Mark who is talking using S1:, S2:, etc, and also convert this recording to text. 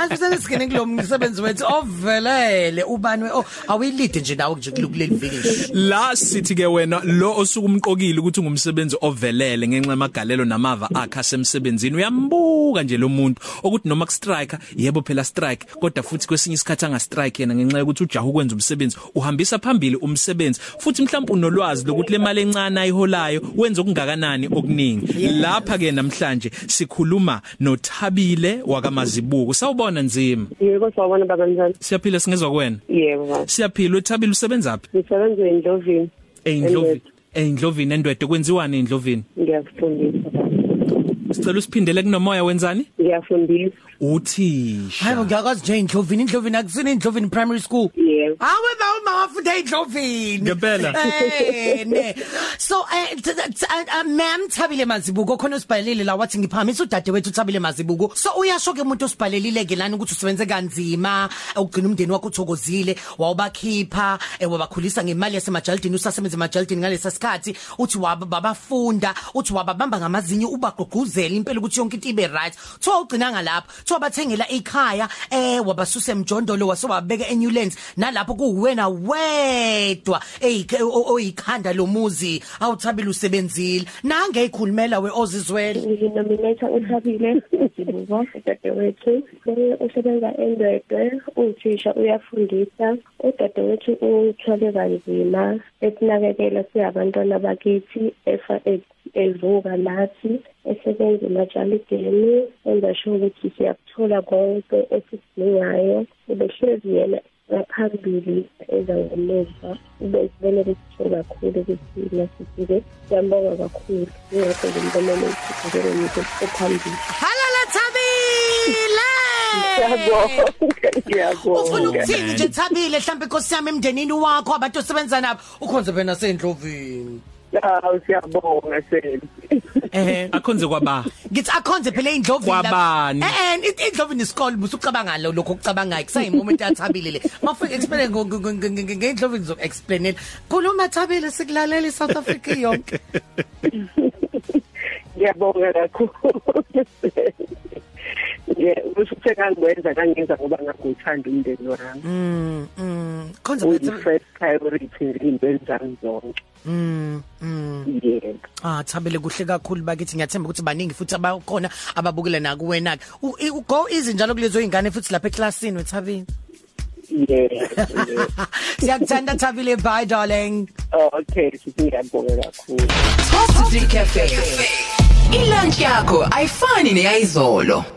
S1: Asisenisingene kulo msebenzi wethu ovelele ubanwe oh awuyilidi nje nawe nje kuleli village.
S2: la sithi ke wena lo osukumqokile ukuthi ngumsebenzi ovelele ngenxa yamagalelo namava akhe asemsebenzini uyambuka nje lo muntu ukuthi noma ku striker yebo phela strike kodwa futhi kwesinye isikhathi anga strike yena ngenxa yokuthi ujaha ukwenza umsebenzi uhambisa phambili umsebenzi futhi mhlawumbe unolwazi lokuthi le mali encane ayiholayo wenza okungakanani okuningi lapha ke namhlanje sikhuluma noThabile wakamazibuko sawubona nzima
S3: Yebo sawubona babanjani?
S2: siyaphila singezwa kuwena
S3: Yebo baba.
S2: siyaphila uThabile usebenza phi
S3: Ngisebenza endlovini.
S2: Eindlovini eindlovini endwedwe kwenziwani eindlovini
S3: Ngiyakufundisa baba.
S2: sicela usiphindele kunomoya wenzani
S3: Ngiyafundisa.
S2: uthisha
S1: Hayi ngiyakwazi nje indlovini indlovini akusini indlovini primary school.
S3: Yebo.
S1: Hawe ba uma wafunde indlovini.
S2: Ngempela.
S1: Eh ne. So eh t- t- uh, ma'am Thabile Mazibuko khona usibhalelile la wathi ngiphakamisa udade wethu Thabile Mazibuko. So uyasho ke umuntu osibhalelile ke lana ukuthi usebenze kanzima, ugcina umndeni wakho uthokozile, wawubakhipha, eh, wabakhulisa ngemali yasemajaldini usasebenza emajaldini ngalesa sikhathi, uthi waba babafunda, uthi wababamba ngamazinyo ubagqugquzela impela ukuthi yonke into ibe right. Kuthiwa ugcina ngalapha, kuthiwa bathengela ikhaya, eh wabasusa emjondolo wase wabeka eNewlands nalapho kuwena wedwa eh oyikhanda lomuzi awuthabile usebenzile nange ikhulumela weozizwele
S3: Nginominate uthabile Sibuko dadewethu. Uye usebenza endedwe, uthisha uyafundisa. Udadewethu uthwele kanzima esinakekela siyabantwana bakithi efa e- evuka nathi esebenza emajalideni enza sure ukuthi siyakuthola konke esikudingayo ubehlezi yena ngaphambili eza ngemuva ubezibona ukuthi kakhulu ukuthi nasifike siyambonga kakhulu ngingakho ngimbonele ukuthi njengomuntu ophambili
S1: halala thabile
S3: Ngiyabonga,
S1: ufuna
S3: ngiyabonga
S1: ukuthini nje thabile mhlawumbe inkosi yami emndenini wakho abantu osebenza nabo ukhonze phena sendlovini
S3: hawu siyabonga senti
S1: ehe
S2: Eh, akhonze kwaba
S1: ngithi akhonze phela indlovini
S2: Kwabani?
S1: eh indlovini isikole busucabanga lo lokho okucabanga ikuse imoment athabile le mafike explain ngeindlovini zok explainela khuluma thabile sikulalela iSouth Africa yonke
S3: ngiyabonga kakhulu Yeah, usuthe kangwenza kangenza ngoba ngakuthanda umndeni wami.
S1: mm mm khonze
S3: Uyi
S1: phela
S3: first priority nje intweni zami zonke.
S1: mm mm
S3: Yebo.
S1: Ah thabele kuhle kakhulu bakithi ngiyathemba ukuthi baningi futhi abakhona ababukela naku wena ke U- i- u- go easy njalo kulezo ingane futhi lapha eclassini wethabile
S3: Yebo.
S1: Siyakuthanda thabile bye darling
S3: Okay, siyabonga kakhulu.
S4: Top City Cafe. Ilunch yakho ayifani neyizolo.